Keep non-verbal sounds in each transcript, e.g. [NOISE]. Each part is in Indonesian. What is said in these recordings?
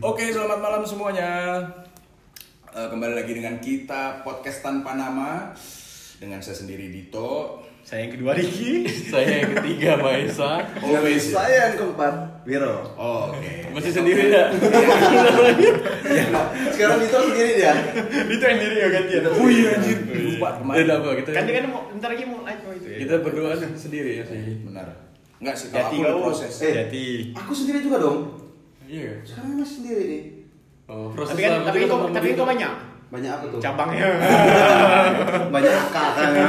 Oke, selamat malam semuanya. Eh, kembali lagi dengan kita podcast tanpa nama dengan saya sendiri Dito. Saya yang kedua Riki. Saya yang ketiga Maesa. Always. Saya yang keempat, Wiro. Oh, Oke. Iya. Masih sendiri enggak? Sekarang itu sendiri dia. itu yang diri ya ganti ya. Oh iya anjir, lupa Udah gitu. kemarin. apa kita? Kan dia kan mau ntar lagi mau naik mau itu ya. Kita berdua sendiri ya sih. Benar. Enggak sih kalau jati aku udah kau. proses. Ya, Eh. Jati. Aku sendiri juga dong. Iya. Sekarang mas sendiri nih. Oh, proses Tapi kan sama tapi juga itu sama tapi dia. itu banyak Iya. Banyak apa tuh? cabangnya. Banyak kakak ya.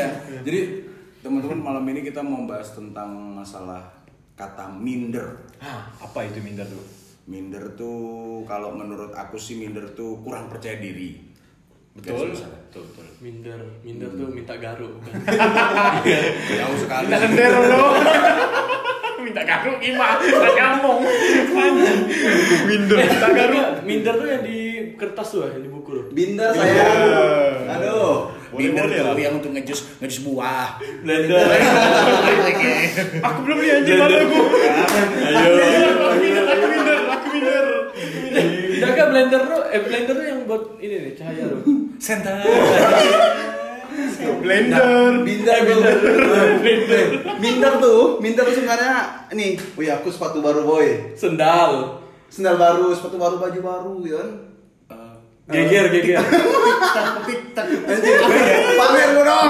Ya, jadi teman-teman malam ini kita mau bahas tentang masalah kata minder. Hah, Ah, apa itu minta tuh? Minder tuh kalau menurut aku sih minder tuh kurang percaya diri. Betul. Garis besar. Betul betul. minder. Minder tuh minta garuk bukan? Jauh sekali. Minta sender lo. [LAUGHS] Minta garuk gimana? Minta ngomong. Minder. Minta garuk. minder tuh yang di kertas tuh yang di buku tuh. Binder saya. Aduh. Minder Boleh-boleh tuh lah. yang untuk ngejus ngejus buah. Belanda. Aku belum beli anjing malu aku. Ayo. Aku minder, aku minder, aku minder. Enggak kan blender tuh eh blender tuh yang buat ini nih cahaya tuh. [LAUGHS] Sentar. Blender. Binder binder. Binder tuh, binder tuh sebenarnya nih, wih aku sepatu baru boy. Sendal. Sendal baru, sepatu baru, baju baru, ya kan? yon. Eh, Geger, geger. Anjir, pamer lu dong.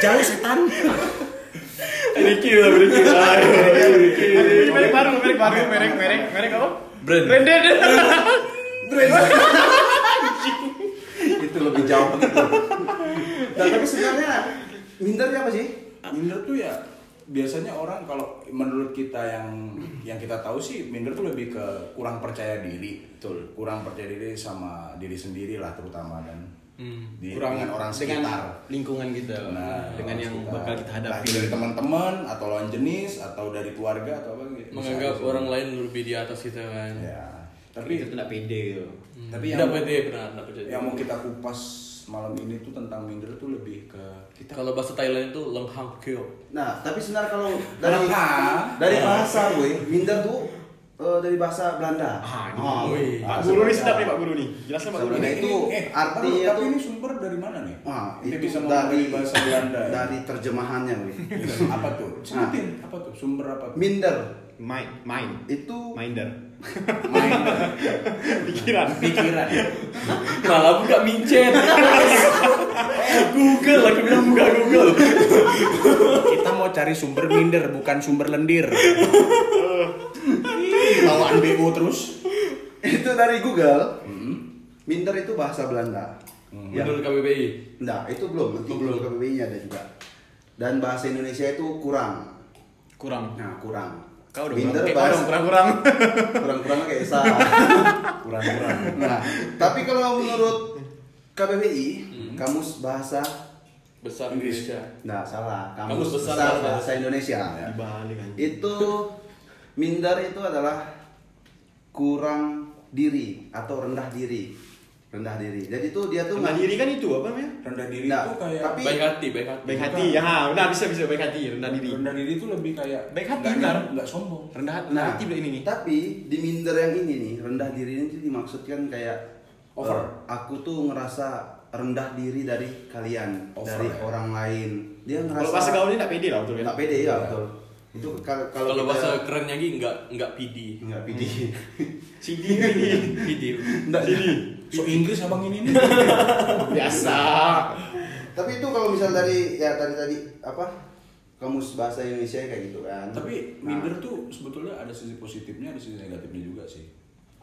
Jauh setan. Ricky lah, Ricky. Ayo, Ricky. Ini merek baru, merek baru, merek merek merek apa? Brand. Branded. Itu lebih jauh gitu. Nah, tapi sebenarnya binder apa sih? Minder tuh ya biasanya orang kalau menurut kita yang yang kita tahu sih minder tuh lebih ke kurang percaya diri betul kurang percaya diri sama diri sendiri lah terutama kan Di- dengan orang sekitar lingkungan kita Nah, orang dengan yang sekitar. bakal kita Entah hadapi itu dari teman-teman atau lawan jenis atau dari keluarga atau apa gitu menganggap Bisa aja. orang lain lebih di atas kita kan ya tapi Tapi itu tidak pede gitu. tapi yang tidak pede benar tidak pede yang mau kita kupas malam ini tuh tentang minder tuh lebih ke kita kalau bahasa Thailand itu lenghang kyo Nah, tapi sebenarnya kalau dari Nah. dari bahasa gue, minder tuh eh, dari bahasa Belanda. Ah, ini. Oh, Wih. Pak bahasa Guru nih Belanda. sedap ya, nih Pak Guru nih. Jelasnya Pak Guru Sebenarnya nih. itu tapi, artinya Eh, tapi tuh- ini sumber dari mana nih? Wah, Ini Ah, itu bisa dari dari bahasa Belanda. ya? Dari terjemahannya gue. [LAUGHS] [LAUGHS] apa tuh? Sebutin apa tuh? Sumber apa tuh? minder Mind, mind, itu minder. Main Pikiran. [LAUGHS] pikiran. malah buka micet Google lagi bilang buka Google Kita mau cari sumber minder bukan sumber lendir. Bawaan BU terus. [LAUGHS] itu dari Google. Minder itu bahasa Belanda. Ya. menurut KBBI Nah, itu belum, nanti belum KBBI-nya ada juga. Dan bahasa Indonesia itu kurang. Kurang. Nah, kurang. Kau dong. kurang. minder Eh, kau dong bahasa kurang-kurang. kurang-kurang kayak Esa. Kurang-kurang. Nah, tapi kalau menurut KBBI, kamus bahasa besar Inggris. Indonesia Nah, salah. Kamus Kamus, besar besar, bahasa- bahasa Indonesia. ya. Dibalik kan. Itu minder itu adalah kurang diri atau rendah diri. Rendah diri. Jadi itu dia tuh Rendah nggak- diri kan itu apa namanya? Rendah diri Nah, itu kayak tapi baik hati baik hati Baik hati. Ya, ha, udah bisa bisa baik hati, rendah diri. rendah diri itu lebih kayak Baik hati, nggak- Nar. nggak sombong. Rendah hati, rendah Nah, hati berarti ini nih. tapi di minder yang ini nih, rendah diri ini tuh dimaksudkan kayak Over. eh, aku tuh ngerasa rendah diri dari kalian, Over, dari ya. orang lain. Dia Kalau ngerasa bahasa gaul ini enggak pede lah betul ya. nggak pede ya, betul. Itu kalau kalau kalau kita- bahasa kerennya lagi nggak nggak PD nggak pede. Sini [LAUGHS] ini. PD Nggak Sini. So Inggris abang ini nih. Biasa. [LAUGHS] Tapi itu kalau misal dari ya tadi tadi apa kamus bahasa Indonesia kayak gitu kan. Tapi minder tuh sebetulnya ada sisi positifnya, ada sisi negatifnya juga sih.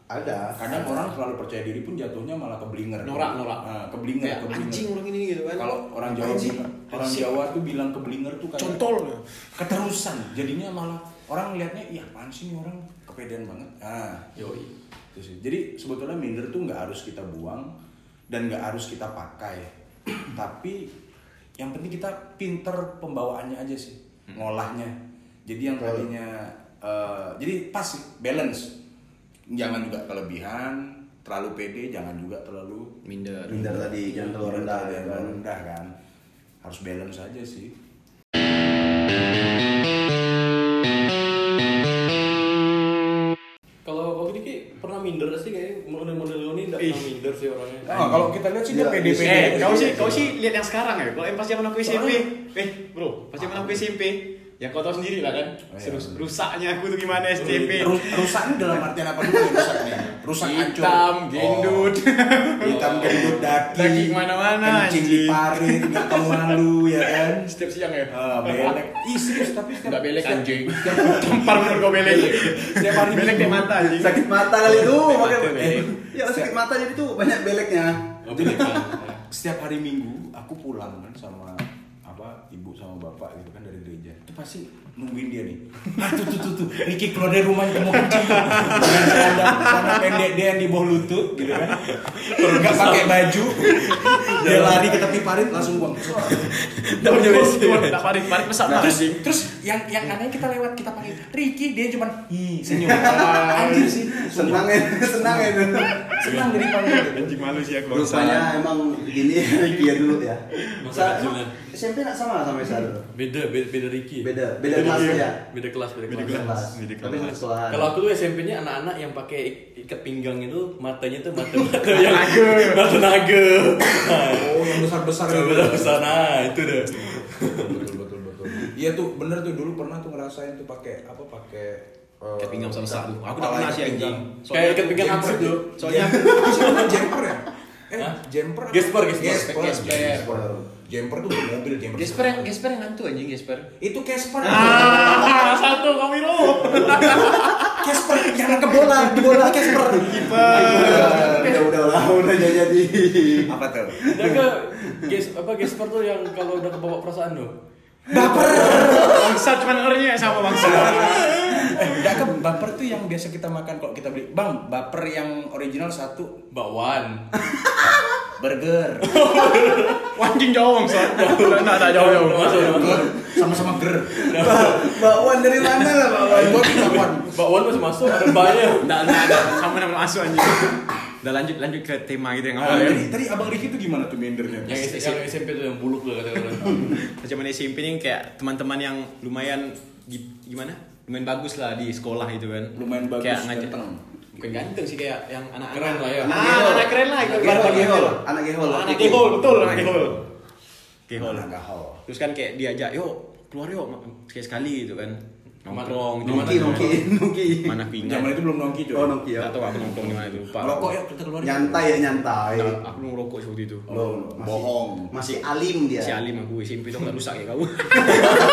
ada kadang orang terlalu percaya diri pun jatuhnya malah keblinger Norak, norak. nah, keblinger Kayak keblinger. anjing orang ini gitu kan. kalau orang Jawa Anjing. bilang- orang Anjing. Jawa tuh bilang keblinger tuh kayak Contol. keterusan jadinya malah orang lihatnya iya apaan sih nih orang kepedean banget ah yoi itu sih. jadi sebetulnya minder tuh nggak harus kita buang dan nggak harus kita pakai [CLEARS THROAT] tapi yang penting kita pinter pembawaannya aja sih ngolahnya jadi yang Betul. tadinya eh, jadi pas sih balance jangan juga kelebihan terlalu pede jangan juga terlalu Minder. minder tadi Iya, jangan terlalu rendah ya Jangan kan. terlalu rendah kan harus balance aja sih pernah minder sih kayaknya model-model lu nih enggak pernah minder sih orangnya. [LAUGHS] Nah, kalau kita lihat sih dia Iya, pede-pede. Eh, aja. kau sih, kau sih lihat yang sekarang ya. Kalau yang pas zaman aku SMP, eh bro, pas zaman aku SMP, ya kau tahu sendiri lah kan. Oh, iya. Serus- rusaknya aku tuh gimana SMP. Ru- rusak ini dalam artian apa dulu yang rusak nih? Rusak hancur. Hitam, gendut. Oh. Hitam, gendut, daki. Daki kemana-mana, Kencing anjing. di parit, nggak kemalu ya kan. Setiap siang ya. Ah, belek. Ih, serius, tapi setiap- Enggak belek kan, setiap- anjing. Tempar menurut kau belek. Setiap hari Belek kayak Minggu. mata anjing. sakit mata kali [LAUGHS] itu Sakit makanya mata, eh, Beb. ya sakit mata jadi tuh banyak beleknya Nggak boleh kan. setiap hari minggu aku pulang kan sama apa ibu sama bapak gitu kan dari gereja itu pasti nungguin dia nih ah tuh tuh tuh tuh Ricky keluar dari rumahnya mau kencing dengan celana celana pendek dia yang di bawah lutut gitu kan nggak pakai baju dia lari ke tepi parit langsung buang Suar. Tahu jadi Enggak parik, parik pesat lah terus Nah, anjing. terus yang yang aneh kita lewat kita panggil Ricky dia cuman hi senyum anjir sih sumpah. senang ya [LAUGHS] senang ya itu senang dari panggil gitu. Anjing malu sih aku. rupanya emang gini Ricky ya [LAUGHS] dulu ya Masa Sa- kecil, emang SMP nggak sama sama Isa dulu Beda, beda, beda Ricky. beda beda kelas ya Beda kelas, beda beda kelas. kelas beda tapi kelas. satu sekolahan Kalau aku tuh SMP-nya anak-anak yang pakai ik- ikat pinggang itu matanya tuh mata mata yang mata naga. oh yang besar besar Coba besar nah itu deh. betul betul betul iya tuh bener tuh dulu pernah tuh ngerasain tuh pakai apa pakai eh, Ikat pinggang sama sapu. Aku udah kepala pernah ikat sih pinggang. anjing. Kayak ikat pinggang Jemper absurd tuh. tuh. Soalnya Siapa jemper ya eh Hah? jemper apa? Gesper, gesper. gesper Gesper. Gesper. Jemper tuh di mobil jemper Gesper yang Gesper yang hantu anjing Gesper. itu Casper Ah, satu kami lu. Casper yang nangkep bola di bola Casper udah udah lah udah jadi jadi apa tuh Udah ke ges apa gesper tuh yang kalau udah kebawa perasaan tuh. Bangsa cuman ernya sama bangsa. Eh, nggak ke baper tuh yang biasa kita makan kalau kita beli bang baper yang original satu Bakwan. burger Anjing jauh bangsa. Enggak ada jauh jauh. Masuk, masuk. sama-sama ger bakwan dari mana lah bakwan buat kawan Bakwan masih masuk ada banyak. Enggak ada sama nama masuk anjing. Udah lanjut lanjut ke tema gitu yang awal ya. tadi, tadi abang Riki tuh gimana tuh mindernya? Yang, S- yang SMP tuh yang buluk [LAUGHS] lah kata-kata. Pas zaman SMP ini kayak teman-teman yang lumayan gi- gimana? Lumayan bagus lah di sekolah gitu kan. Lumayan bagus, Kayak ngajak- ganteng. Bukan ganteng sih kayak yang anak-anak Keren lah ya. Ah, anak-anak keren lah. anak gehol gehol anak gehol Anak gehol, betul anak gehol. Gehol. Anak gahol. Terus kan kayak diajak, yuk keluar yuk sekali sekali gitu kan. Nongkrong, nuki Nongki, gitu kan. nuki nuki Mana pinggang. Zaman itu belum nongki cuy. oh nuki ya Gak tau aku nongkrong di mana itu. Lupa. Rokok ya? yuk kita keluar. nyantai ya nyantai Nah, oh, aku belum rokok waktu itu. Belum, masih- Bohong. masih alim dia Si alim aku SMP itu nggak rusak ya kau. [LAUGHS]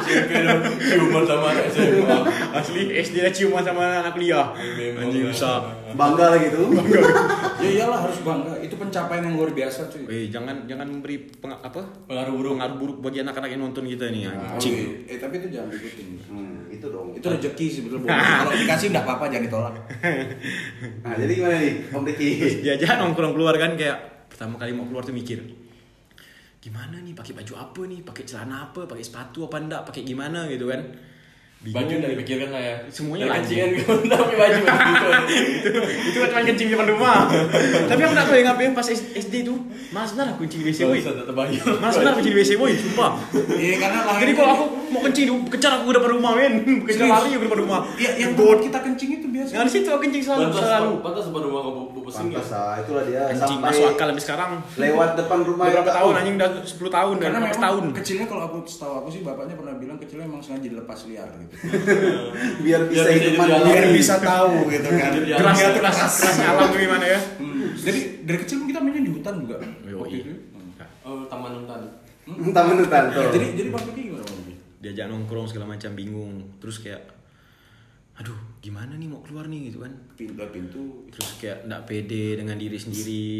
SMP tuh ciuman sama anak SMA. Asli SD dah ciuman sama anak kuliah. Memang. Anjing rusak. bangga gitu. lagi tuh Ya iyalah harus bangga. Itu pencapaian yang luar biasa cuy. Eh jangan jangan memberi peng, apa Pengaruh buruk. Ya. pengaruh buruk bagi anak-anak yang nonton kita nih. Cuy. Anjing. Eh tapi itu jangan diikutin. Hmm, itu dong Itu rezeki sebetulnya. Kalau dikasih nggak apa-apa jangan ditolak. nah jadi gimana nih om Riki Diajak nongkrong keluar kan kayak pertama kali mau keluar tuh mikir gimana nih pakai baju apa nih pakai celana apa pakai sepatu apa enggak pakai gimana gitu kan Baju [LAUGHS] udah dipikirkan lah ya. Semuanya Dari lah. Kencingan gue [LAUGHS] tapi baju masih gitu. [LAUGHS] itu kan cuma kencing di depan rumah [LAUGHS] tapi aku tak tahu yang ngapain pas SD itu mas benar aku kencing di WC Gak boy usah tak terbayang. mas benar kencing di WC boy [LAUGHS] sumpah Iya karena lahir. jadi kalau aku mau kencing tuh kejar aku ke depan rumah men kejar Serius? lari aku ke depan rumah Iya yang buat god kita kencing itu biasa. nah di situ aku kencing selalu Pantas selalu pantas baru mau ke bu pesing ya. Pantas ah, itulah dia Anjing sampai masuk akal sampai sekarang. lewat depan rumah yang Berapa tak- tahun anjing udah 10 tahun udah Karena 15 memang tahun. kecilnya kalau aku setahu aku sih bapaknya pernah bilang kecilnya emang sengaja dilepas liar gitu. biar bisa Biar bisa hidup hidup mandiri. di alam. tahu gitu kan. Biar Keras Dunia tuh keras kerasnya alam tuh gimana ya? Hmm. Jadi dari kecil kita mainnya di hutan juga. Waktu itu. Oh, taman hutan. entah menutan tuh Jadi jadi Bang Piki gimana Bang Piki? Diajak nongkrong segala macam bingung. Terus kayak aduh, gimana nih mau keluar nih gitu kan. Pintu pintu Terus kayak nggak pede dengan diri sendiri.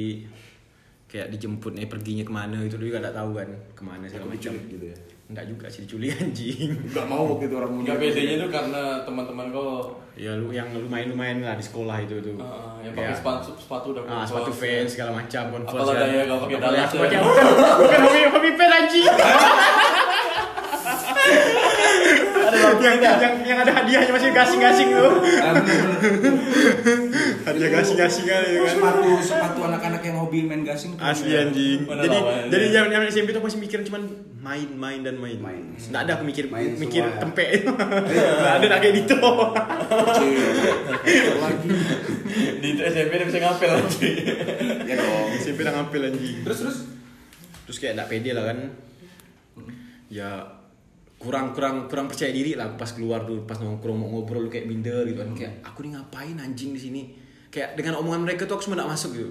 Kayak dijemput nih perginya kemana gitu juga nggak tahu kan kemana segala macam. diculik gitu ya. Nggak juga sih diculik [LAUGHS] anjing. Gak mau waktu itu orang muda. Gak bedanya tuh karena teman-teman kau Ya lu yang lumayan-lumayan lah di sekolah itu tuh. Ah, yang pakai Kayak- sepatu sepatu udah Iya. Ah, sepatu fans segala macam ya. converse. Apalah daya kalau pakai dalam aku tuh pakai ya. bukan bukan hobi hobi fan [LAUGHS] anjing. yang, yang yang ada hadiahnya masih gasing-gasing tuh. Ah, bener-bener. Hadiah gasing-gasing kali itu kan. sepatu sepatu anak-anak yang hobi main gasing tuh. Asli anjing. Mana Jadi lawannya? jadi zaman zaman SMP tuh masih mikirin cuman main main dan main. Main. Nggak ada aku mikir Main mikir semua. tempe. [LAUGHS] Nggak ada nak kayak gitu. Kecil. Lagi. Di SMP dia bisa [LAUGHS] ngapel aja. ya dong SMP dah ngampil anjing. terus terus Terus kayak nggak pede lah kan. Ya kurang kurang kurang percaya diri lah pas keluar tuh pas nongkrong mau ngobrol kayak minder gitu kan kayak aku nih ngapain anjing di sini kayak dengan omongan mereka tuh aku semua nggak masuk gitu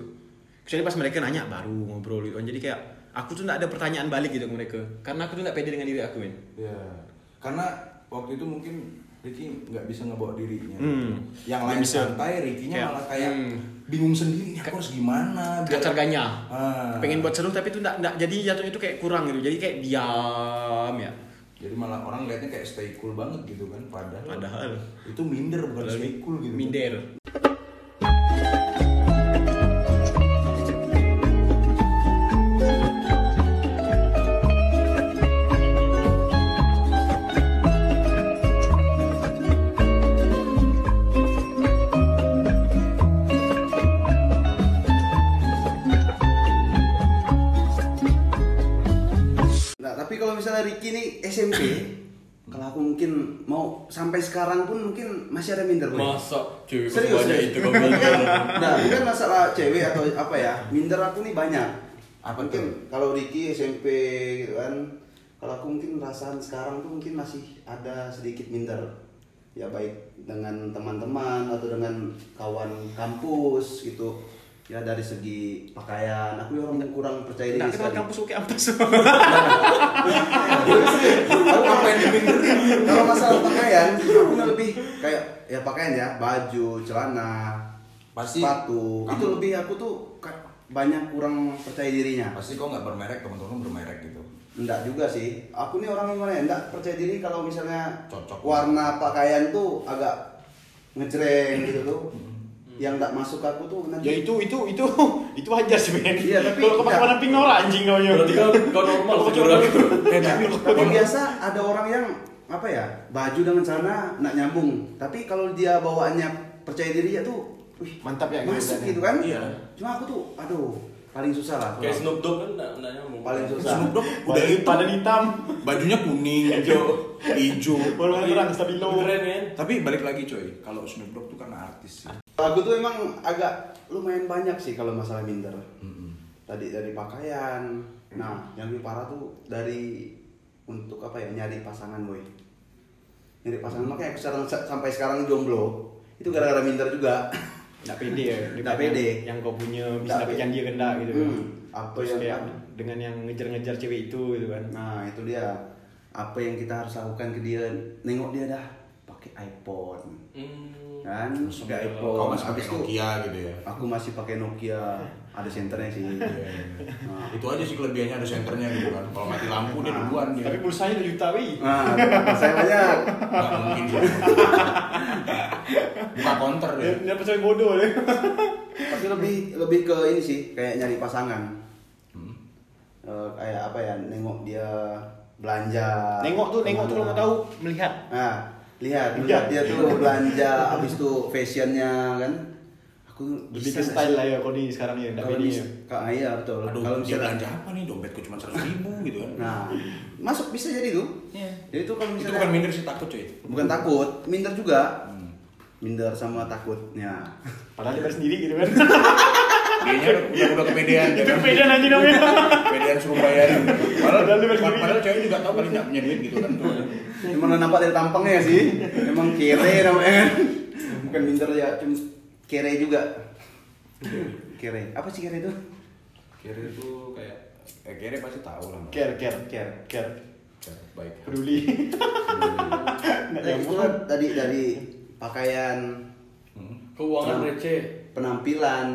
kecuali pas mereka nanya baru ngobrol gitu kan jadi kayak aku tuh nggak ada pertanyaan balik gitu ke mereka karena aku tuh nggak pede dengan diri aku men ya karena waktu itu mungkin Ricky nggak bisa ngebawa dirinya Hmm. yang Nggak lain bisa. santai Ricky-nya Kayak, malah kayak hmm. bingung sendiri ini aku harus gimana biar- kecerganya Ah. pengen buat seru tapi tuh nggak nggak jadi jatuhnya tuh kayak kurang gitu jadi kayak diam ya jadi malah orang liatnya kayak stay cool banget gitu kan padahal Padahal. itu minder bukan Padahal stay cool gitu minder Nah, tapi kalau misalnya Ricky nih SMP, kalau aku mungkin mau sampai sekarang pun mungkin masih ada minder Boy. Masa cuy kok Serius, banyak serius. itu kok bilang. [LAUGHS] Nah, bukan masalah cewek atau apa ya, minder aku nih banyak. Apa mungkin tuh? kalau Ricky SMP gitu kan, kalau aku mungkin perasaan sekarang tuh mungkin masih ada sedikit minder. Ya baik dengan teman-teman atau dengan kawan kampus gitu. Ya dari segi pakaian, aku orang yang kurang percaya diri nggak kenal sekali. kampus kok kayak ampas Aku ngapain diminderin? Kalau masalah pakaian, aku mah lebih kayak ya pakaian ya, baju, celana, Pasti sepatu. kamu- Itu lebih aku tuh ka- banyak kurang percaya dirinya. pasti kok nggak bermerek teman-teman bermerek gitu Enggak juga sih. Aku nih orang yang mana ya? Enggak percaya diri kalau misalnya Cocok. warna pakaian tuh agak ngejreng gitu tuh. Hmm. Yang enggak masuk aku tuh nanti. ya itu itu itu [LAUGHS] itu wajar sih men Iya, tapi- ya. kalau kau pakai warna pink norak anjing kau ya. nya Berarti [LAUGHS] kau kau normal Kalau pakai sebenarnya. eh tapi Tapi biasa ada orang yang apa ya baju dengan celana nak nyambung. Tapi kalau dia bawaannya percaya diri ya tuh, wih Mantap ya, masuk kelihatannya. gitu kan? Iya. Cuma aku tuh, aduh paling susah lah. Kayak Snoop Dogg kan nggak nggak nyambung. Paling susah. Snoop Dogg udah udah itu badan hitam bajunya kuning hijau hijau warna terang stabilo Keren kan? tapi balik lagi coy kalau Snoop Dogg tuh kan artis sih Aku tuh emang agak lumayan banyak sih kalau masalah minder. Tadi dari pakaian. Nah, yang lebih parah tuh dari untuk apa ya nyari pasangan boy. Nyari pasangan makanya aku sekarang sampai sekarang jomblo. Itu gara-gara minder juga. nggak pede ya Nggak pede. yang kau punya Nggak bisa pede. pegang dia kena gitu kan Hmm, apa terus yang- kayak dengan yang ngejar-ngejar cewek itu gitu kan Nah itu dia apa yang kita harus lakukan ke dia nengok dia dah pakai iPhone Hmm. kan Langsung pakai iPhone kau masih pakai Habis itu, Nokia gitu ya aku masih pakai Nokia ada senternya sih Iya, Nah, itu aja sih kelebihannya ada senternya gitu kan kalau mati lampu dia duluan dia tapi pulsanya 2 juta wi nah saya banyak nggak mungkin dia buka counter dia deh dia percaya bodoh [LAUGHS] deh tapi lebih lebih ke ini sih kayak nyari pasangan Hmm. Eh, kayak apa ya nengok dia belanja nengok tuh nengok tuh kalau kemana. mau tahu Iya. melihat Nah, lihat, lihat dia tuh belanja, habis tuh fashionnya kan. Aku lebih ke bisa nggak style sih? lah ya kau nih sekarang ya nggak Kalau pede ya mis- Kak Ayah betul. aduh Kalau dia misalnya belanja apa nih dompetku cuma seratus ribu gitu kan Nah, masuk bisa jadi tuh. Iya. Jadi itu kalau itu misalnya bukan minder sih takut [LAUGHS] coy bukan takut, minder juga. Minder sama takutnya. padahal dia sendiri gitu kan kayaknya udah, udah kepedean dia [LAUGHS] itu kan beda nanti namanya kepedean suruh bayarin padahal Padahal dia berdiri. padahal cewek juga tahu kali nggak punya duit gitu kan tuh Emang udah nampak dari tampangnya sih. Emang kere namanya. Bukan minder ya, cuma kere juga. Kere. Apa sih kere itu? Kere itu kayak eh, Kere pasti tahu lah. care care Care. care Kere, Baik. peduli nggak Nah, itu nyambung kan tadi dari pakaian, Hmm. Keuangan Nah. receh. penampilan.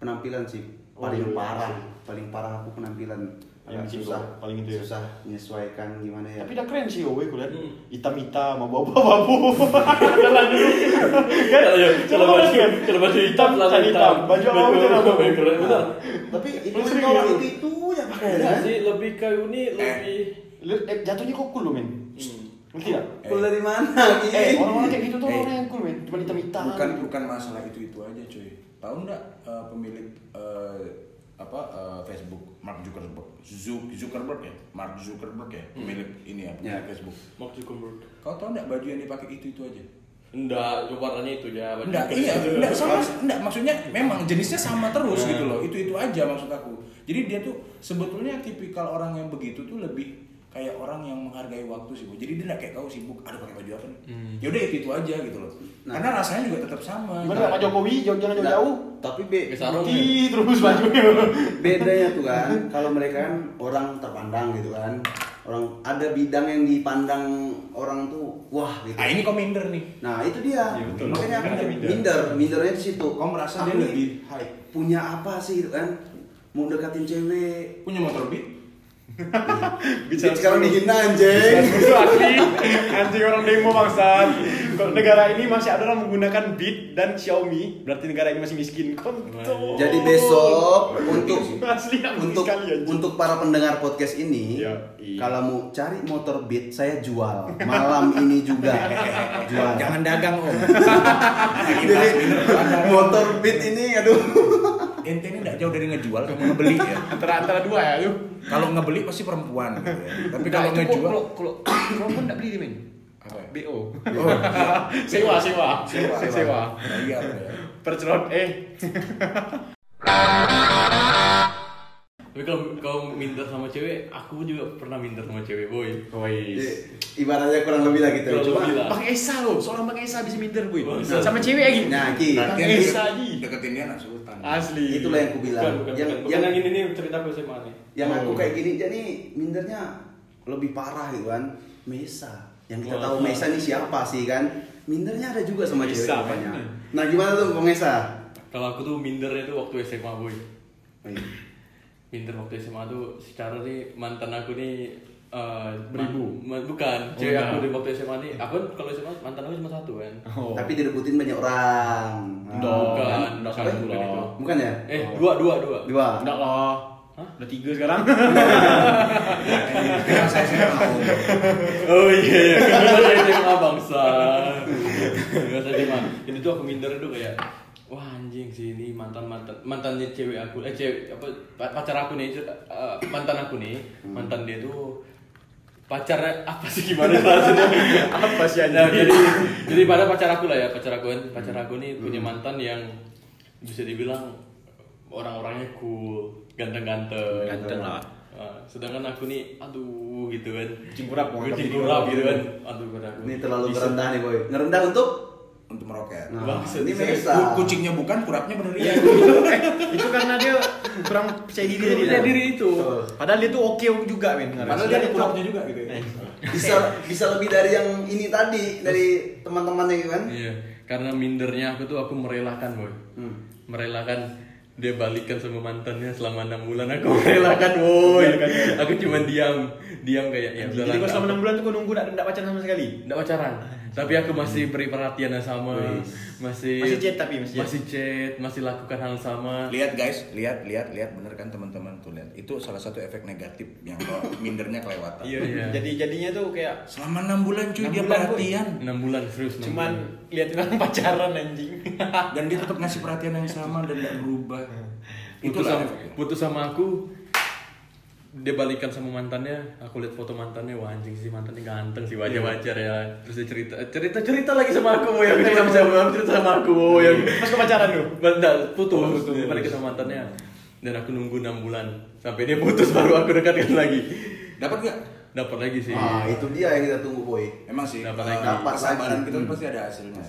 Penampilan sih Oh, paling iya. parah, paling parah aku penampilan. Yang Agak bikin susah, lo paling itu ya? susah menyesuaikan gimana ya. Tapi dah keren sih Owe kulihat Hmm. hitam-hitam sama [LAUGHS] babu-babu. Jalan dulu. Kan? Iya, celana Coba baju, kan? celana baju hitam, celana Celana hitam. Baju apa Baju celana apa, babu? baju Ah. keren, benar. [LAUGHS] tapi Lu itu kan sering orang gitu? itu itu ya pakai Enggak sih, lebih kayu ini Eh. lebih Lu- eh, Jatuhnya kok cool lu men. Hmm. Ngerti gak? Cool dari mana? Ki? Eh, [LAUGHS] orang-orang kayak gitu tuh Eh. orang yang cool, men. Cuma hitam-hitam. bukan bukan masalah itu itu aja cuy tahu nggak eh, pemilik eh, apa eh, Facebook Mark Zuckerberg Zu- Zuckerberg ya Mark Zuckerberg ya pemilik ini ya punya Facebook Mark Zuckerberg. kau tahu nggak baju yang dipakai itu itu aja Enggak, coba warnanya itu ya. Mark Gitu Enggak, Zuckerberg iya, itu. enggak, sama, enggak, maksudnya memang jenisnya sama terus Iya. gitu loh, itu itu aja maksud aku. Jadi dia tuh sebetulnya tipikal orang yang begitu tuh lebih kayak orang yang menghargai waktu sih, Bu. Jadi dia enggak kayak kau sibuk, aduh pakai baju apa nih? Hmm. Yaudah itu itu aja gitu loh. Karena rasanya juga tetap sama. Nah. Gimana gitu. Pak Jokowi? Jauh- Jangan Nah, jauh-jauh. Tapi be, Ke sarung [LAUGHS] ya? Ih, terus bajunya. bedanya tuh kan, kalau mereka kan orang terpandang gitu kan, orang ada bidang yang dipandang orang tuh wah gitu. Ah ini kau minder nih. Nah itu dia, makanya Kan aku dia minder. minder, mindernya di situ. Kau merasa dia Aku nih lebih high. punya apa sih gitu kan? Mau deketin cewek, Punya motor beat? Bicara sekarang dihina anjing. Itu anjing, anjing orang demo bangsat. Kalau negara ini masih ada orang menggunakan Beat dan Xiaomi, berarti negara ini masih miskin. Kontol. Jadi besok untuk iya. Asli, aku untuk sekali, anjing. untuk para pendengar podcast ini, Ya, iya. kalau mau cari motor Beat saya jual malam ini juga jual. Jangan dagang om. [LAUGHS] Jadi motor Beat ini aduh. Ente ini enggak jauh dari ngejual, kamu ngebeli ya. antara antara dua ya, yuk. Kalau ngebeli pasti perempuan gitu ya. Tapi kalau ngejual kalau kalau perempuan enggak beli dia men. Apa ya? BO. [LAUGHS] Oh, Sewa, sewa, sewa. lah. sewa. Bayar ya. Percerot, eh, Tapi kalau kau minder sama cewek, aku juga pernah minder sama cewek, boy. Iya. Woi. Ibaratnya kurang lebih lah gitu. Kurang Cuma, lebih lah. Pakai Eh, Esa loh, seorang pakai Esa bisa minder boy. Bisa. Sama cewek lagi. nah Ki, Pakai Berarti yang Esa lagi. deket- deketin dia anak sultan. Asli. itulah yang aku bilang. Bukan, bukan, yang bukan. Bukan yang yang, ini nih cerita aku SMA nih. yang aku kayak gini jadi mindernya lebih parah gitu kan. Mesa. Yang kita Wah. tahu Mesa ini siapa sih kan? Mindernya ada juga sama cewek Mesa, rupanya. kan? Nah, gimana tuh Bang Mesa? Kalau aku tuh mindernya tuh waktu SMA, boy. Wih. Minder waktu SMA tuh secara nih mantan aku nih eh, Beribu. ma- ma- bukan, cewek aku di waktu SMA nih. Aku kan kalau SMA mantan aku cuma satu kan. Oh. Tapi direbutin banyak orang. Ah, Nah, Dong. bukan, kan? bukan, Satu bukan lah. itu. Bukan ya? Eh, dua, dua, dua. Dua. Enggak lah. Hah? Udah tiga sekarang. Karena saya sih [LAUGHS] nggak mau. Oh iya, [LAUGHS] iya. Kenapa saya SMA bangsa? Kenapa saya SMA? Jadi tuh aku minder tuh kayak, wah anjing sih ini mantan mantan mantannya cewek aku, eh cewek apa pa- pacar aku nih, eh, mantan aku nih, mantan dia tuh pacarnya apa sih gimana rasanya? Apa sih Nah, anjing? jadi jadi pada pacar aku lah ya pacar aku kan pacar aku nih punya Hmm. mantan yang bisa dibilang orang-orangnya cool ganteng-ganteng Ganteng lah. Ah, sedangkan aku nih aduh gitu kan Cingkurap, mau Gue angkat cingkurap video. gitu kan aduh pada aku Ini terlalu Bisa. ngerendah nih boy. Ngerendah untuk Untuk meroket. Nah, Bangsa, ini bisa. Mesa. Ku- Kucingnya bukan, kurapnya bener iya. [LAUGHS] itu karena dia kurang percaya diri tadi. Percaya Nah. diri itu. Padang dia tuh oke juga men. [LAUGHS] Padahal dia ada kurapnya juga gitu ya. bisa bisa lebih dari yang ini tadi dari teman-temannya gitu kan? iya karena mindernya aku tuh aku merelakan boy Hmm. merelakan dia balikan sama mantannya selama enam bulan aku [LAUGHS] merelakan boy aku cuma diam diam kayak ya udahlah, Jadi kau nggak selama apa-apa." 6 bulan tuh kau nunggu enggak enggak pacaran sama sekali. Nggak pacaran. Ah, Tapi aku masih beri perhatian yang sama. Masih Masih chat tapi, masih ya? chat. masih chat, masih lakukan hal sama. Lihat guys, lihat, lihat, lihat bener kan teman-teman tuh lihat. Itu salah satu efek negatif yang [LAUGHS] kalau mindernya kelewatan. Iya, iya. Jadi jadinya tuh kayak Selama enam bulan cuy Enam dia bulan, Boy. perhatian 6 bulan serius. enam cuman bulan. liatin orang [LAUGHS] pacaran anjing. dan dia tetap ngasih perhatian yang sama dan tidak [LAUGHS] berubah. Itu putus lah. sama, putus sama aku dia balikan sama mantannya aku lihat foto mantannya wah anjing sih mantannya ganteng sih wajah wajar ya terus dia cerita cerita cerita lagi sama aku yang cerita sama aku cerita sama aku yang Pas kau pacaran tuh. Bentar, putus, balik sama mantannya dan aku nunggu 6 bulan sampai dia putus [LAUGHS] baru aku dekatkan lagi Dapat nggak? dapat lagi sih Ah, itu dia yang kita tunggu boy. Emang sih. Dapat eh, lagi. Dapat kesabaran lagi. kita tuh pasti ada hasilnya.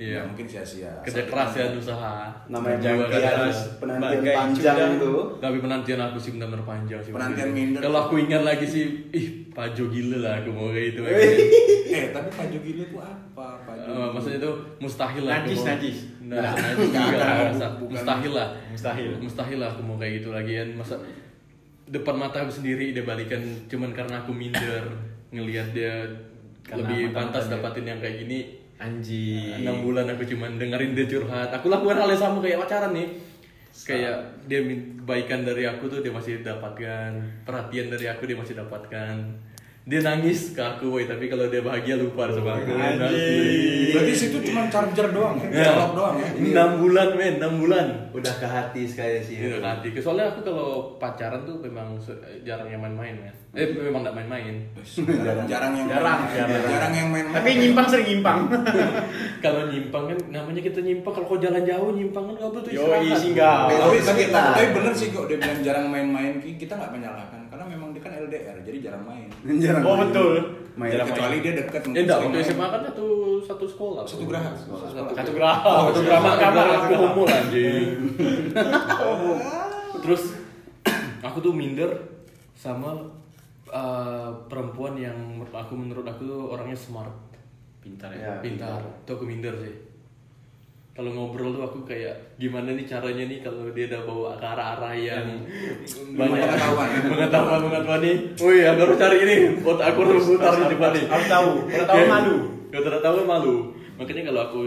Iya. Nggak mungkin sia-sia. kerja keras ya dan usaha Namanya Kerja penantian, keras. penantian Bagai panjang cudang. itu. tapi penantian aku sih benar-benar panjang sih Penantian Mungkin. minder. kalau aku ingat lagi sih ih pajo gila lah aku mau kayak itu Eh tapi Pak Jogi itu apa? Pak Jogi? Eh, maksudnya itu mustahil lah aku Najis, mau- najis. nah, najis juga bukan, lah, bukan. rasa. mustahil lah Mustahil. mustahil lah aku mau kayak gitu lagi kan masa depan mata aku sendiri dia balikan cuman karena aku minder ngelihat dia Karena lebih mata-mata pantas dia. dapatin yang kayak gini Anjing. enam bulan aku cuman dengerin dia curhat aku lakukan hal yang sama kayak pacaran nih kayak dia min- kebaikan dari aku tuh dia masih dapatkan perhatian dari aku dia masih dapatkan dia nangis ke aku boy tapi kalau dia bahagia lupa sama aku Anjing. Berarti situ cuma charger doang ya? Ya. Colok doang ya? Iya. enam bulan men enam bulan Udah ke hati sekali sih. Gitu nanti soalnya aku kalau pacaran tuh memang se- jarang yang main-main men eh memang gak main-main Jarang yang Jarang, jarang. jarang yang main. Tapi nyimpang sering nyimpang. kalau nyimpang kan namanya kita nyimpang kalau kau jalan jauh nyimpang kan nggak betul Yoi, istirahat. singgah. tapi, tapi, Sekitar. tapi bener sih kok dia bilang jarang main-main Ki, kita nggak menyalahkan karena memang dia kan LDR jadi jarang main Jarang Oh, main. betul. Main. Jarang kecuali dia deket Eh, enggak, waktu mungkin sering SMA main. kan satu satu sekolah. Satu geraha. Satu geraha. Oh, Satu geraha. kamar Satu aku geraha. homo anjing. Terus aku tuh minder sama eh, perempuan yang menurut aku menurut aku tuh orangnya smart. Pintar Iya. ya? pintar. Tuh aku minder sih. Kalau ngobrol tuh aku kayak gimana nih caranya nih kalau dia udah bawa ke arah-arah yang banyak Pengetahuan. [LAUGHS] pengetahuan pengetahuan nih. Wih, aku harus cari ini. Otak aku harus putar di depan nih. Harus tahu. Kalau tahu Iya. malu. Kalau tidak tahu malu. Makanya kalau aku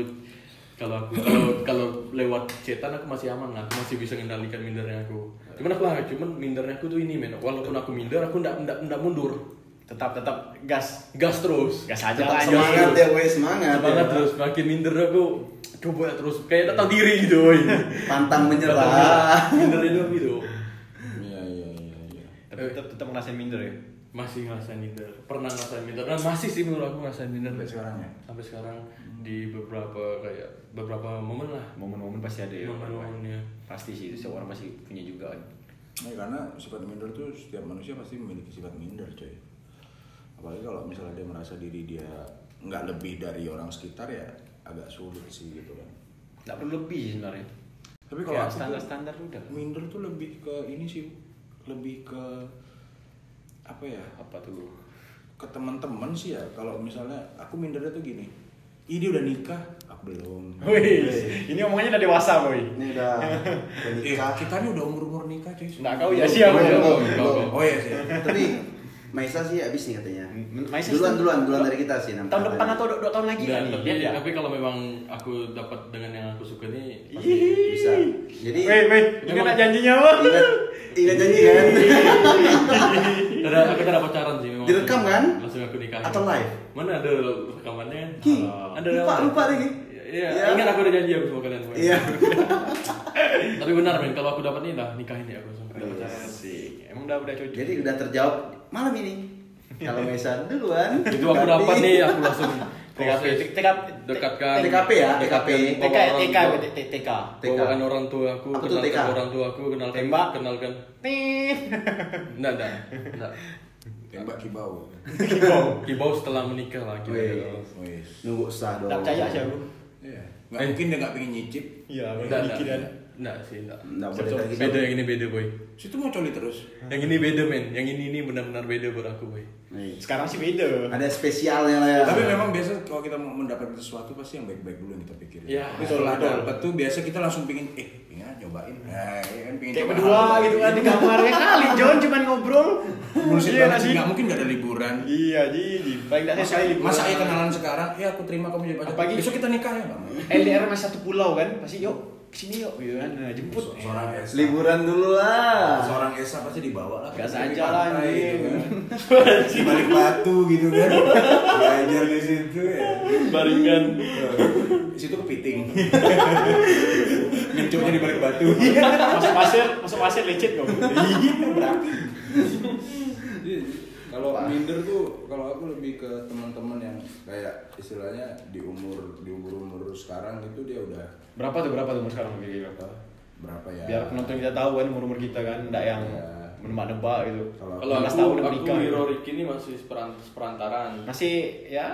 kalau aku kalau kalau lewat cetan aku masih aman lah, aku masih bisa mengendalikan mindernya aku. Cuman aku cuman mindernya aku tuh ini men. Walaupun aku minder, aku ndak ndak ndak mundur. Tetap tetap gas. Gas terus. Gas aja Tetap lah, Semangat gas ya, terus. weh, semangat. Semangat ya. terus makin minder aku. Coba terus kayak tak tahu diri gitu. [LAUGHS] woy. Pantang menyerah. Minder itu gitu. iya iya iya iya Tapi tetap tetap ngerasain minder ya. Masih ngerasain minder. Pernah ngerasain minder dan masih sih menurut aku ngerasain minder sampai sekarang ya sampai sekarang di beberapa kayak beberapa momen lah Momen-momen pasti ada ya. Momen-momennya. Pasti sih, setiap orang masih punya juga kan. Nah, karena sifat minder tuh setiap manusia pasti memiliki sifat minder coy apalagi kalau misalnya dia merasa diri dia nggak lebih dari orang sekitar ya agak sulit sih gitu kan Nggak perlu lebih sih sebenarnya. tapi kalau Kayak aku tuh- Ya, standar-standar udah. minder tuh lebih ke ini sih lebih ke apa ya apa tuh ke teman-teman sih ya kalau misalnya aku mindernya tuh gini Ih dia udah nikah, aku belum. Wih, ini omongannya udah dewasa, boy. Ini [LAUGHS] udah Eh, menikah. kita nih udah umur-umur nikah cuy. Nggak kau ya sih aku. Belum, ya. belum, Kau, belum. Oh iya sih. Tapi Maisa sih habis nih katanya. M- Maisa duluan sih- duluan duluan dari kita sih enam Tahun tahun. depan atau dua, dua tahun lagi Dan, kan? tapi, tapi kalau memang aku dapat dengan yang aku suka nih pasti bisa. Jadi Weh, weh, ini Memang- nak janjinya, boy. ingat ingat janji [LAUGHS] kan? Iya. Karena aku tidak pacaran sih memang. Direkam kan? Langsung aku nikah. Atau live? Mana ada rekamannya? Ki, Ah, lupa- lupa lagi. Iya, Iya. ingat aku udah janji aku sama kalian semua. Iya. Tapi benar men, kalau aku dapat nih lah nikahin ya aku langsung. Udah Iya. pacaran Iya sih. Emang udah udah cocok. Jadi udah terjawab malam ini. Kalau Maisa duluan. [LAUGHS] Itu aku berarti- dapat nih aku langsung TKP, proses TKP. dekatkan TKP ya, TKP. TK, bawa orang- TK, TK, TK. TK. Bawakan orang tua aku, Apa tuh kenalkan TK? orang tua aku, kenalkan Tembak. kenalkan. Tit. Enggak, enggak. Enggak. Tembak kibau. Kibau setelah menikah lah gitu. Wih. Wih. Nunggu sah dong. Tak percaya sih aku. Oh, Iya. Nggak Eh. mungkin dia nggak pengen nyicip. Iya, Enggak, udah enggak. dikit dan Enggak sih, enggak. Enggak boleh gitu. Siap-siap. lagi. Beda yang ini beda, boy. Situ mau coli terus. Yang ini beda, men. Yang ini ini benar-benar beda buat aku, boy. Nih, Sekarang sih beda. Ada spesialnya lah Iya. ya. Tapi memang biasa kalau kita mau mendapatkan sesuatu pasti yang baik-baik dulu yang kita pikirin. Iya, Tapi betul, setelah betul. dapat tuh biasa kita langsung pingin, eh pengen ah, nyobain. Nah, iya kan pengen Kayak coba berdua hal gitu kan baru. di kamarnya kali John cuman ngobrol. Bullshit Iya banget nggak sih, sih? nggak mungkin nggak ada liburan. Iya, Ji. Paling enggak saya Masa, sekali liburan. masa iya kenalan sekarang, ya aku terima kamu jadi pacar. Apalagi- Besok kita nikah ya, Bang. LDR masih satu pulau kan? Pasti yuk kesini yuk gitu kan. Nah, jemput. Se- Seorang Esa. Liburan dulu lah. Seorang Esa pasti dibawa lah. Gas Di aja lah, pantai, anjing. gitu kan. [LAUGHS] Di balik batu gitu kan. Belajar di situ ya. Baringan. Di situ kepiting. Mencoknya di balik batu. Iya. masuk pasir, masuk pasir licit kok. Iya, berarti. Kalau minder tuh kalau aku lebih ke teman-teman yang kayak istilahnya di umur di umur umur sekarang itu dia udah Berapa tuh berapa tuh umur sekarang kira-kira berapa? berapa ya? Biar penonton kita tahu kan umur-umur kita kan, enggak yang Ya. Iya. menebak-nebak gitu. Kalau- Kalau 15 aku, tahun udah aku menikah. gitu. Wiro Riki ini masih seperan- seperantaran. Masih ya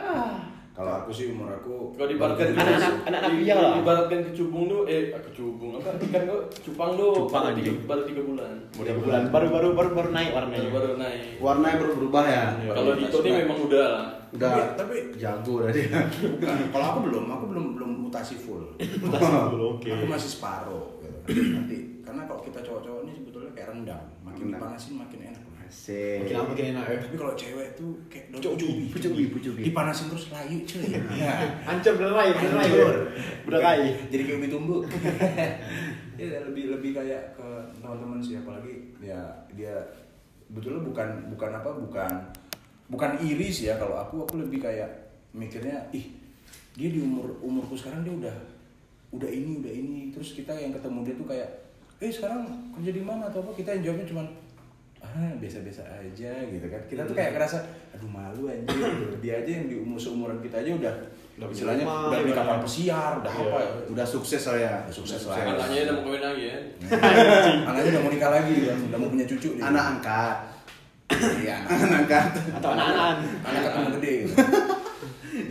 Kalau aku sih umur aku Kalau diibaratkan baru tujuh belas. anak-anak- anak-anak di- iya lah. Diibaratkan kecubung tuh, eh kecubung apa? Ikan tuh, cupang tuh. Cupang, baru tiga- anjing. Iya. Baru tiga bulan. udah bulan baru baru baru baru naik warnanya. Baru baru naik. Warnanya baru berubah ya. Kalau Dito nih memang udah lah. udah Tapi- tapi- jago udah dia. Bukan, kalau aku belum, aku belum belum mutasi full. [LAUGHS] Mutasi full, oke. Aku masih separuh. Gitu. Nanti karena kalau kita cowok-cowok ini sebetulnya kayak rendang, makin Rendang. dipanasin makin enak. Asik. Makin lama makin enak ya. Tapi kalau cewek tuh kayak daun Pucuk ubi, pucuk ubi, pucuk ubi. Dipanasin terus layu cuy. [LAUGHS] Iya. Ancam benerai, benerai. Hancur. Benerai. Jadi kayak ubi tumbuh. [LAUGHS] ya lebih lebih kayak ke teman-teman sih apalagi ya dia betulnya bukan bukan apa bukan bukan iri sih ya kalau aku aku lebih kayak mikirnya ih dia di umur umurku sekarang dia udah udah ini udah ini terus kita yang ketemu dia tuh kayak eh sekarang kerja di mana atau apa kita yang jawabnya cuman ah biasa-biasa aja gitu kan kita tuh Hmm. kayak ngerasa aduh malu aja dia aja yang di umur seumuran kita aja udah Udah punya istilahnya rumah, udah di udah- kapal pesiar udah apa Udah sukses lah ya. Udah sukses Iya. lah. Anaknya udah mau kawin lagi ya. anaknya udah mau nikah lagi kan udah mau punya cucu dia. Anak angkat. iya Anak angkat. atau anak-anak anak ketemu gede gitu.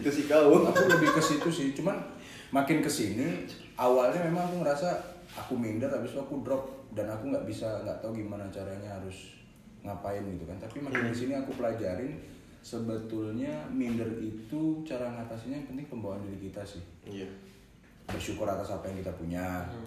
Itu sih kau. aku lebih ke situ sih cuman makin ke sini awalnya memang aku ngerasa aku minder habis itu aku drop dan aku nggak bisa nggak tahu gimana caranya harus ngapain gitu kan tapi Iya. makin ke sini aku pelajarin sebetulnya minder itu cara ngatasinnya yang penting pembawaan diri kita sih Iya. bersyukur atas apa yang kita punya Hmm.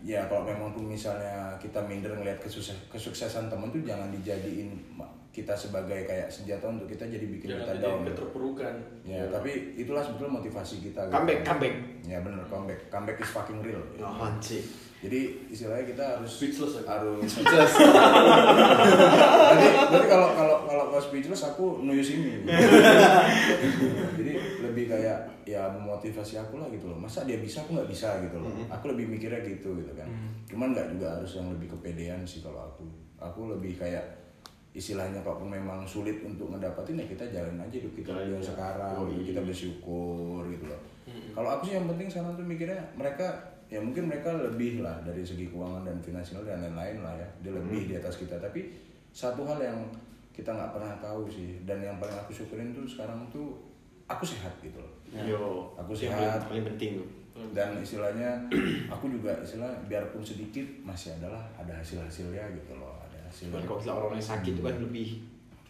ya kalau memang tuh misalnya kita minder ngelihat kesukses- kesuksesan temen tuh jangan dijadiin ma- kita sebagai kayak senjata untuk kita jadi bikin Jangan kita jadi down keterpurukan. Iya. Ya, tapi itulah sebetulnya motivasi kita. gitu. Iya. Comeback, comeback. Oh, Ya benar comeback. Comeback is fucking real. Nahan sih. Jadi istilahnya kita harus Speechless ya? [LAUGHS] harus speechless. Berarti, berarti kalau kalau kalau kalau speechless aku nuyus [LAUGHS] ini. Jadi lebih kayak ya memotivasi aku lah gitu loh. Masa dia bisa aku nggak bisa gitu loh. Mm-hmm. Aku lebih mikirnya gitu gitu kan. Cuman nggak juga harus yang lebih kepedean sih kalau aku. Aku lebih kayak istilahnya kalau memang sulit untuk ngedapatin ya kita jalan aja hidup kita yang sekarang kita bersyukur gitu loh kalau aku sih yang penting sekarang tuh mikirnya mereka ya mungkin mereka lebih lah dari segi keuangan dan finansial dan lain-lain lah ya dia lebih di atas kita tapi satu hal yang kita nggak pernah tahu sih dan yang paling aku syukurin tuh sekarang tuh aku sehat gitu loh [LAUGHS] yo aku Itu yang sehat. paling- paling penting tuh dan istilahnya [CLEARS THROAT] aku juga istilah biarpun sedikit masih adalah ada hasil hasilnya gitu loh ada hasil Cuman Hmm. kalau kita orang yang sakit itu kan lebih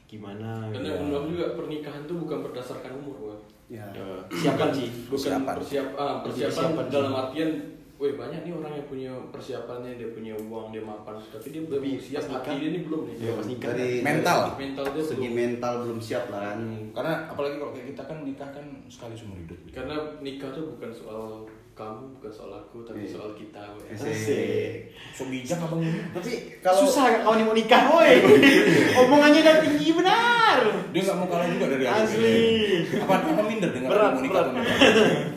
gimana ya. Karena gitu. menurut aku juga pernikahan tuh bukan berdasarkan umur, Bang. Ya. Eh, siapkan sih bukan Persiapan. persiapan persiapan, ah, persiapan Persiapan. dalam artian weh banyak nih orang yang punya persiapannya dia punya uang dia mapan tapi dia belum Tapi siap pas hati nikah- dia ini belum nih Iya, pas nikah. Dari Mental. mental dia Segi belum mental belum siap lah kan. karena apalagi kalau kayak kita kan nikah kan sekali seumur hidup gitu. karena nikah tuh bukan soal kamu bukan soal aku tapi soal kita weh. Iya Asik. so bijak abang ini Tapi kalau susah gak kawan yang mau nikah [LAUGHS] woi omongannya udah tinggi benar dia nggak mau kalah juga dari aku Asli. apa apa minder dengan Berat, mau nikah berat. atau enggak?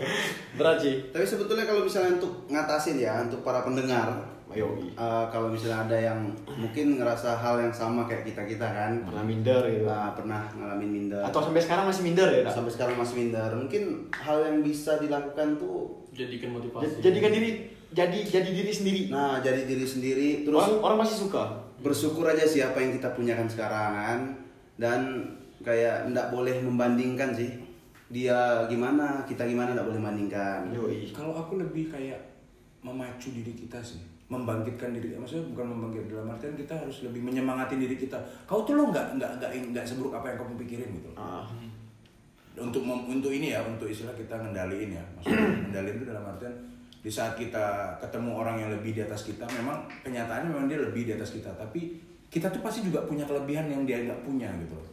berat sih tapi sebetulnya kalau misalnya untuk ngatasin ya untuk para pendengar ayo eh, kalau misalnya ada yang mungkin ngerasa hal yang sama kayak kita kita kan pernah minder gitu eh, pernah ngalamin minder atau sampai sekarang masih minder ya Dak? sampai sekarang masih minder mungkin hal yang bisa dilakukan tuh jadikan motivasi Jad- jadikan diri jadi jadi diri sendiri nah jadi diri sendiri terus orang, orang masih suka bersyukur aja sih apa yang kita punyakan sekarang kan. dan kayak ndak boleh membandingkan sih dia gimana kita gimana ndak boleh membandingkan Yoi. kalau aku lebih kayak memacu diri kita sih membangkitkan diri maksudnya bukan membangkitkan dalam artian kita harus lebih menyemangati diri kita kau tuh lo nggak nggak nggak nggak seburuk apa yang kamu pikirin gitu loh. Ah. untuk mem- untuk ini ya untuk istilah kita ngendaliin ya maksudnya ngendaliin itu dalam artian di saat kita ketemu orang yang lebih di atas kita memang kenyataannya memang dia lebih di atas kita tapi kita tuh pasti juga punya kelebihan yang dia nggak punya gitu loh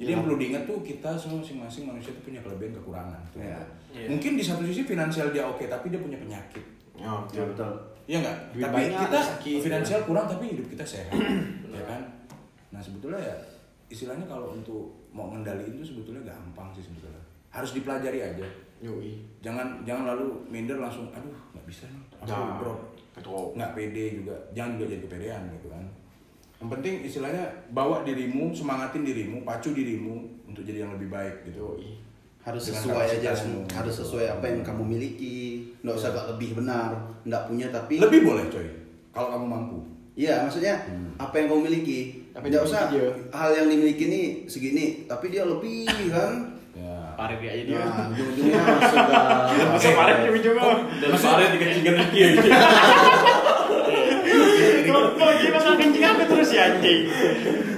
jadi yang perlu diingat tuh kita semua masing-masing manusia tuh punya kelebihan kekurangan gitu. Iya. Iya. mungkin di satu sisi finansial dia oke tapi dia punya penyakit Ya, ya betul Iya nggak? Duit Tapi banyak, kita sakit, ya. finansial kurang tapi hidup kita [CLEARS THROAT] sehat, ya kan? Nah sebetulnya ya istilahnya kalau untuk mau ngendaliin itu sebetulnya gampang sih sebetulnya. Harus dipelajari aja. Yoi. Jangan jangan lalu minder langsung, aduh nggak bisa nih, aku Nah, drop. ketua. Nggak pede juga, jangan juga jadi kepedean gitu kan. Yang penting istilahnya bawa dirimu, semangatin dirimu, pacu dirimu untuk jadi yang lebih baik gitu. Yoi. harus Dengan sesuai aja kapasitasmu. semua harus sesuai apa yang kamu miliki nggak usah nggak lebih benar nggak punya tapi Lebih boleh coy, kalau kamu mampu. iya maksudnya apa yang kamu miliki Apa yang nggak dimiliki usah dia. hal yang dimiliki ini segini tapi dia lebih kan Ya. parit kayak aja dia Iya. [LAUGHS] nah ujung-ujungnya sudah Masa kemarin dia minjem gua. dan parit dikencingkan lagi aja Kalau kalau dia masalah kencing aku terus ya anjing.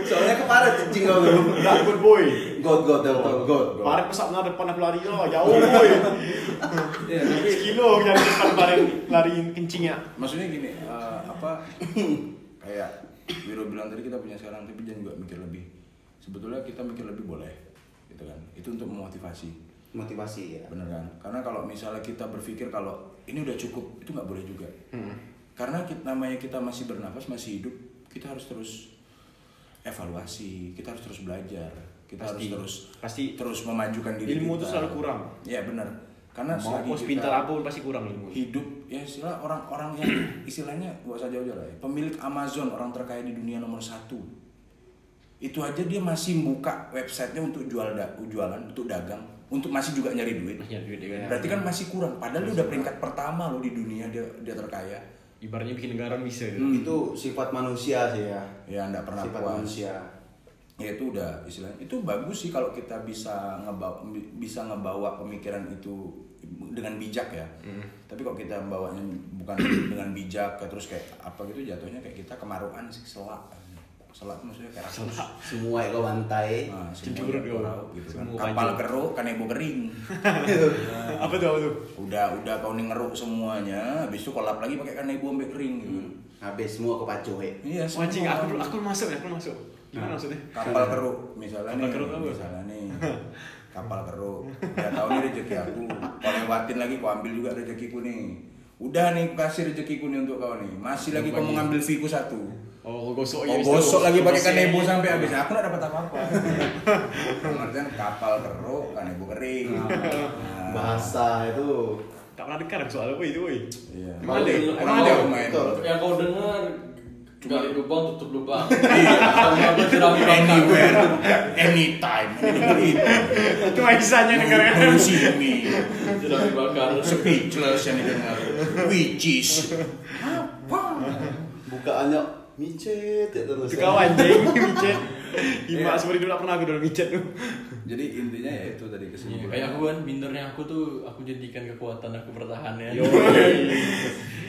soalnya kemarin cicing kau dulu Nah, good boy. god god god god, god. Kemarin pesat nah depan aku lari lah, jauh boy. ya tapi Sekilo yang depan kemarin lari ya. kencingnya. maksudnya gini eh, apa kayak Wiro bilang tadi kita punya sekarang tapi jangan juga mikir lebih sebetulnya kita mikir lebih boleh gitu kan itu untuk memotivasi motivasi ya bener kan karena kalau misalnya kita berpikir kalau ini udah cukup itu nggak boleh juga Hmm. karena kita, namanya kita masih bernafas masih hidup kita harus terus evaluasi kita harus terus belajar kita Pasti. harus terus Pasti. terus memajukan diri Ilmu itu kita. selalu kurang. ya benar karena mau selagi bos kita pintar apa pun pasti kurang ilmu hidup ya istilah orang-orang yang [CLEARS THROAT] istilahnya gak usah jauh-jauh lah ya, pemilik Amazon orang terkaya di dunia nomor satu itu aja dia masih buka websitenya untuk jual da- jualan untuk dagang untuk masih juga nyari duit Masih nyari duit, ya. berarti kan masih kurang padahal dia udah peringkat pertama loh di dunia dia dia terkaya Ibaratnya bikin negara bisa. Itu sifat manusia sih ya. ya nggak pernah sifat Hmm. puas manusia. ya itu udah istilahnya itu bagus sih kalau kita bisa ngebawa bisa ngebawa pemikiran itu dengan bijak ya tapi kalau kita membawanya bukan [COUGHS] dengan bijak kayak terus kayak apa gitu jatuhnya kayak kita kemaruan sih selak selak tuh maksudnya kayak rakus Semua ego bantai. nah, Cemburu semuanya dia. korau gitu kan. Semua kapal panjang. keruk kan ibu kering Nah, apa tuh apa tuh udah udah kau nih ngeruk semuanya habis itu kolap lagi pakai kan ibu ambek kering gitu Hmm. Habis semua kepacu he. iya semua. Mancing, aku belum- aku belum masuk ya, aku belum masuk. Gimana maksudnya? kapal keruk misalnya Kapal nih keruk apa? misalnya nih kapal keruk udah tahu nih rezeki aku kau lewatin lagi kau ambil juga rezekiku nih udah nih ku kasih rezekiku nih untuk kau nih masih lagi kau mau ngambil fiku satu Oh, gosok kau gosok lagi pakai kanebo sampai habis aku nggak dapat apa apa pengertian kapal keruk kanebo kering Nah, Bahasa itu Tak pernah dengar soal apa itu, woi. iya Emang ada? Emang ada yang main Betul. Yang kau dengar gali lubang tutup lubang. Sama berceramah bangka. anywhere anytime anytime. Itu Aisyahnya dengar. Konsumi. Berceramah bakar. speechless yang didengar which is bukaannya micet ya Itu terus. ya. kau [LAUGHS] anjing, micet. Ima Iya. seumur hidup tak pernah aku dalam micet tuh. jadi intinya ya itu tadi Iya, kesimpulan Kayak aku kan bindernya aku tuh aku jadikan kekuatan aku bertahan ya. [LAUGHS]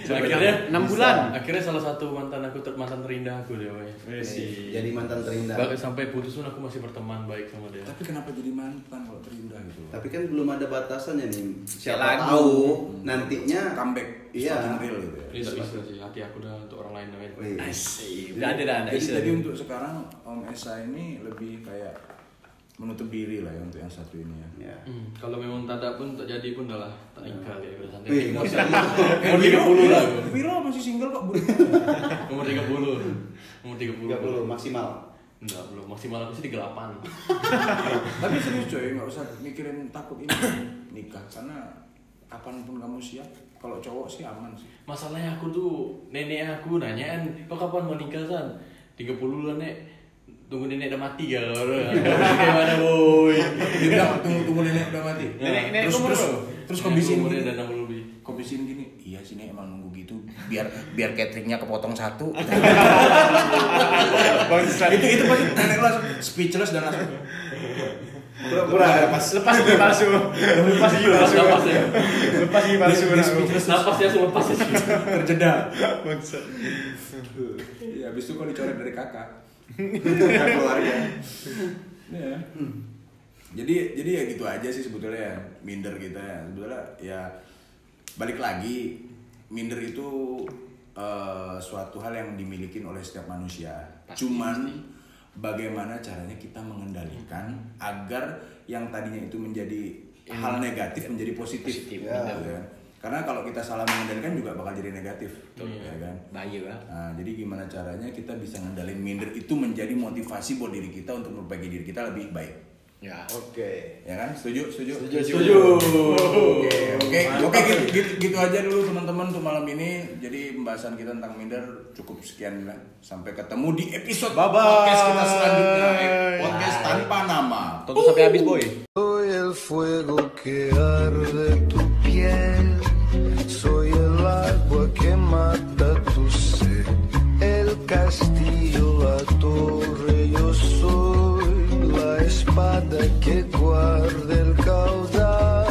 Sampai akhirnya enam bulan. Akhirnya salah satu mantan aku ter- mantan terindah aku dia. woy. Eh, Eh, Jadi mantan terindah. Bahkan sampai putus pun aku masih berteman baik sama dia. tapi kenapa jadi mantan kalau terindah gitu Tapi kan belum ada batasannya nih. Siapa lagu. tahu Hmm. nantinya comeback Iya. starting real gitu ya Jadi tak bisa sih hati aku dah untuk orang lain namanya. Wih. Asik. Jadi- Udah ada dah, ada jadi, Aisyah. [LAUGHS] jadi untuk sekarang Om Esa ini lebih kayak menutup diri lah ya untuk yang satu ini ya Ya. Hmm, kalau memang tak ada pun tak jadi pun dah lah tak ingkar ya udah santai. Wih, Umur maksudnya umur 30 lah. aku. Wiro masih single kok Bu. Umur 30. Umur 30. 30 maksimal. Enggak, belum. Maksimal aku sih 38. tapi serius coy nggak usah mikirin takut ini nikah karena kapanpun kamu siap kalau cowok sih aman sih Masalahnya aku tuh nenek aku nanya kan, kau kapan mau nikah san? 30 lah nek. Tunggu nenek udah mati ya. Gimana boy? dia bilang tunggu-tunggu nenek udah mati Nenek- nenek terus umur terus berapa? terus Nenek kondisi umurnya udah 60 lebih. komisiin gini iya sih nih emang nunggu gitu biar biar cateringnya kepotong satu Bangsat. [LAUGHS] itu itu pasti nenek langsung speechless dan langsung Pura-pura lepas lepas gigi palsu. Lepas gigi palsu. Lepas ya. Lepas gigi palsu. Dia- dia speechless. Napasnya semua pas ya. terjeda Bangsat. ya habis itu kok dicoret dari kakak Keluarga. ya. jadi jadi ya gitu aja sih sebetulnya ya, minder kita ya sebetulnya ya balik lagi minder itu eh, suatu hal yang dimiliki oleh setiap manusia cuman bagaimana caranya kita mengendalikan agar yang tadinya itu menjadi hal negatif menjadi positif, Positif, Ya, ya. karena kalau kita salah mengendalikan juga bakal jadi negatif ya kan Bahaya lah. Nah, jadi gimana caranya kita bisa ngendalin minder itu menjadi motivasi buat diri kita untuk memperbaiki diri kita lebih baik. Ya. Oke. Ya kan? Setuju? Setuju? Setuju. Oke, oke. Oke, gitu, gitu, gitu aja dulu teman-teman untuk malam ini. Jadi pembahasan kita tentang minder cukup sekian lah. Sampai ketemu di episode Bye-bye. podcast kita selanjutnya. Eh, Podcast tanpa nama. Tonton sampai habis boy. Soy el fuego que arde tu piel, soy el agua que mata tu sed, el castillo, la torre, yo soy la espada que guarda el